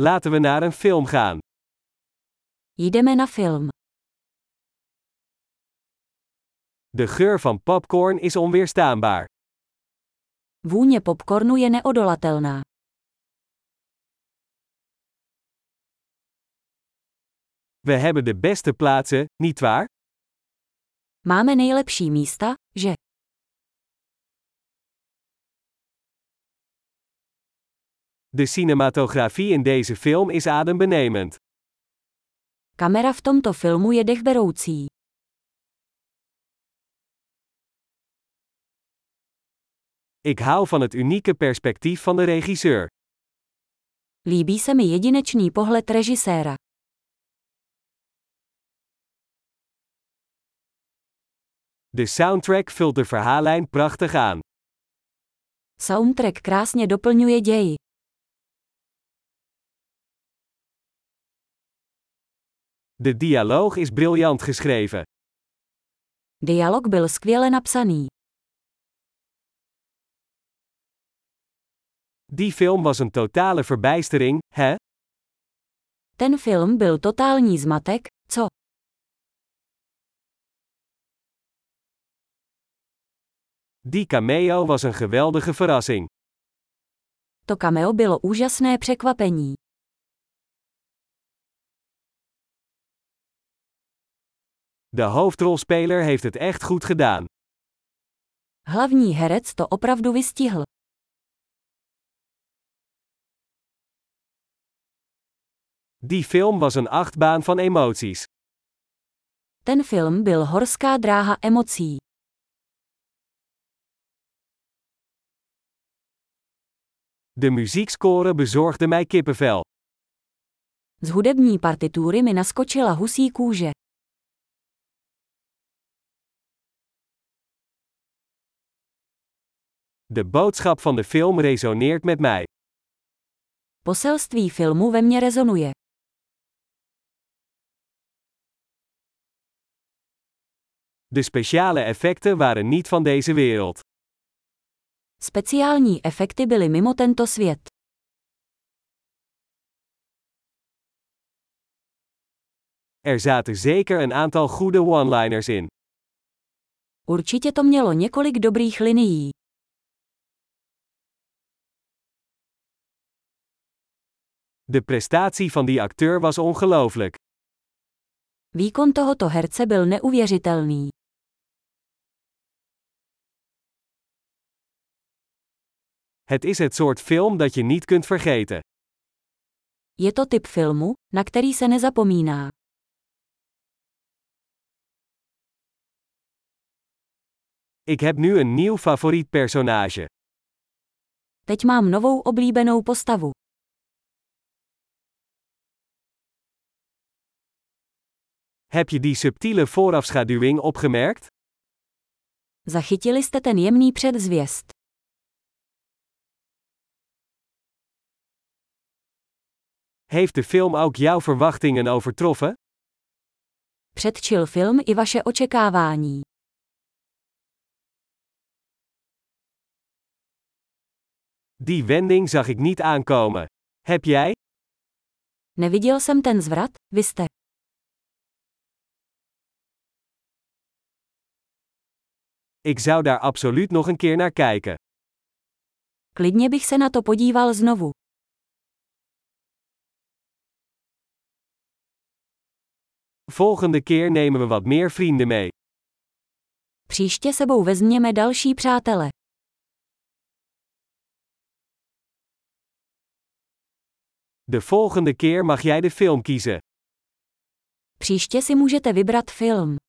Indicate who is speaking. Speaker 1: Laten we naar een film gaan.
Speaker 2: Jdeme na film.
Speaker 1: De geur van popcorn is onweerstaanbaar.
Speaker 2: Vůně popcornu je neodolatelná.
Speaker 1: We hebben de beste plaatsen, nietwaar?
Speaker 2: Máme nejlepší místa, že?
Speaker 1: De cinematografie in deze film is adembenemend.
Speaker 2: Kamera v tomto filmu je dechberoucí.
Speaker 1: Ik hou van het unieke perspectief van de regisseur.
Speaker 2: Líbí se mi jedinečný pohled režiséra.
Speaker 1: De soundtrack vult de verhaallijn prachtig aan.
Speaker 2: Soundtrack krásně doplňuje ději.
Speaker 1: De dialoog is briljant geschreven.
Speaker 2: Dialog byl skvěle napsaný.
Speaker 1: Die film was een totale verbijstering, hè?
Speaker 2: Ten film byl totální zmatek, co?
Speaker 1: Die cameo was een geweldige verrassing.
Speaker 2: To cameo bylo úžasné překvapení.
Speaker 1: De hoofdrolspeler heeft het echt goed gedaan.
Speaker 2: Hlavní herec to opravdu vystihl.
Speaker 1: Die film was een achtbaan van emoties.
Speaker 2: Ten film byl horská dráha emocí.
Speaker 1: De muziekscore bezorgde mij kippenvel.
Speaker 2: Z hudební partitury mi naskočila husí kůže.
Speaker 1: De boodschap van de film resoneert met mij.
Speaker 2: Poselství filmu ve mně rezonuje.
Speaker 1: De speciale effecten waren niet van deze wereld.
Speaker 2: Speciální efekty byly mimo tento svět.
Speaker 1: Er zaten zeker een aantal goede one-liners in.
Speaker 2: Určitě to mělo několik dobrých linií.
Speaker 1: De prestatie van die acteur was ongelooflijk.
Speaker 2: Výkon tohoto herce byl neuvěřitelný.
Speaker 1: Het is het soort film dat je niet kunt vergeten.
Speaker 2: Je to typ filmu, na který se nezapomíná.
Speaker 1: Ik heb nu een nieuw favoriet personage.
Speaker 2: Teď mám novou oblíbenou postavu.
Speaker 1: Heb je die subtiele voorafschaduwing opgemerkt?
Speaker 2: Zachytili jste ten jemný předzvěst.
Speaker 1: Heeft de film ook jouw verwachtingen overtroffen?
Speaker 2: Předčil film i vaše očekávání.
Speaker 1: Die wending zag ik niet aankomen. Heb jij?
Speaker 2: Neviděl jsem ten zvrat, vy jste.
Speaker 1: Ik zou daar absoluut nog een keer naar kijken.
Speaker 2: Klidně bych se na to podíval znovu.
Speaker 1: Volgende keer nemen we wat meer vrienden mee.
Speaker 2: Příště sebou vezměme další přátele.
Speaker 1: De volgende keer mag jij de film kiezen.
Speaker 2: Příště si můžete vybrat film.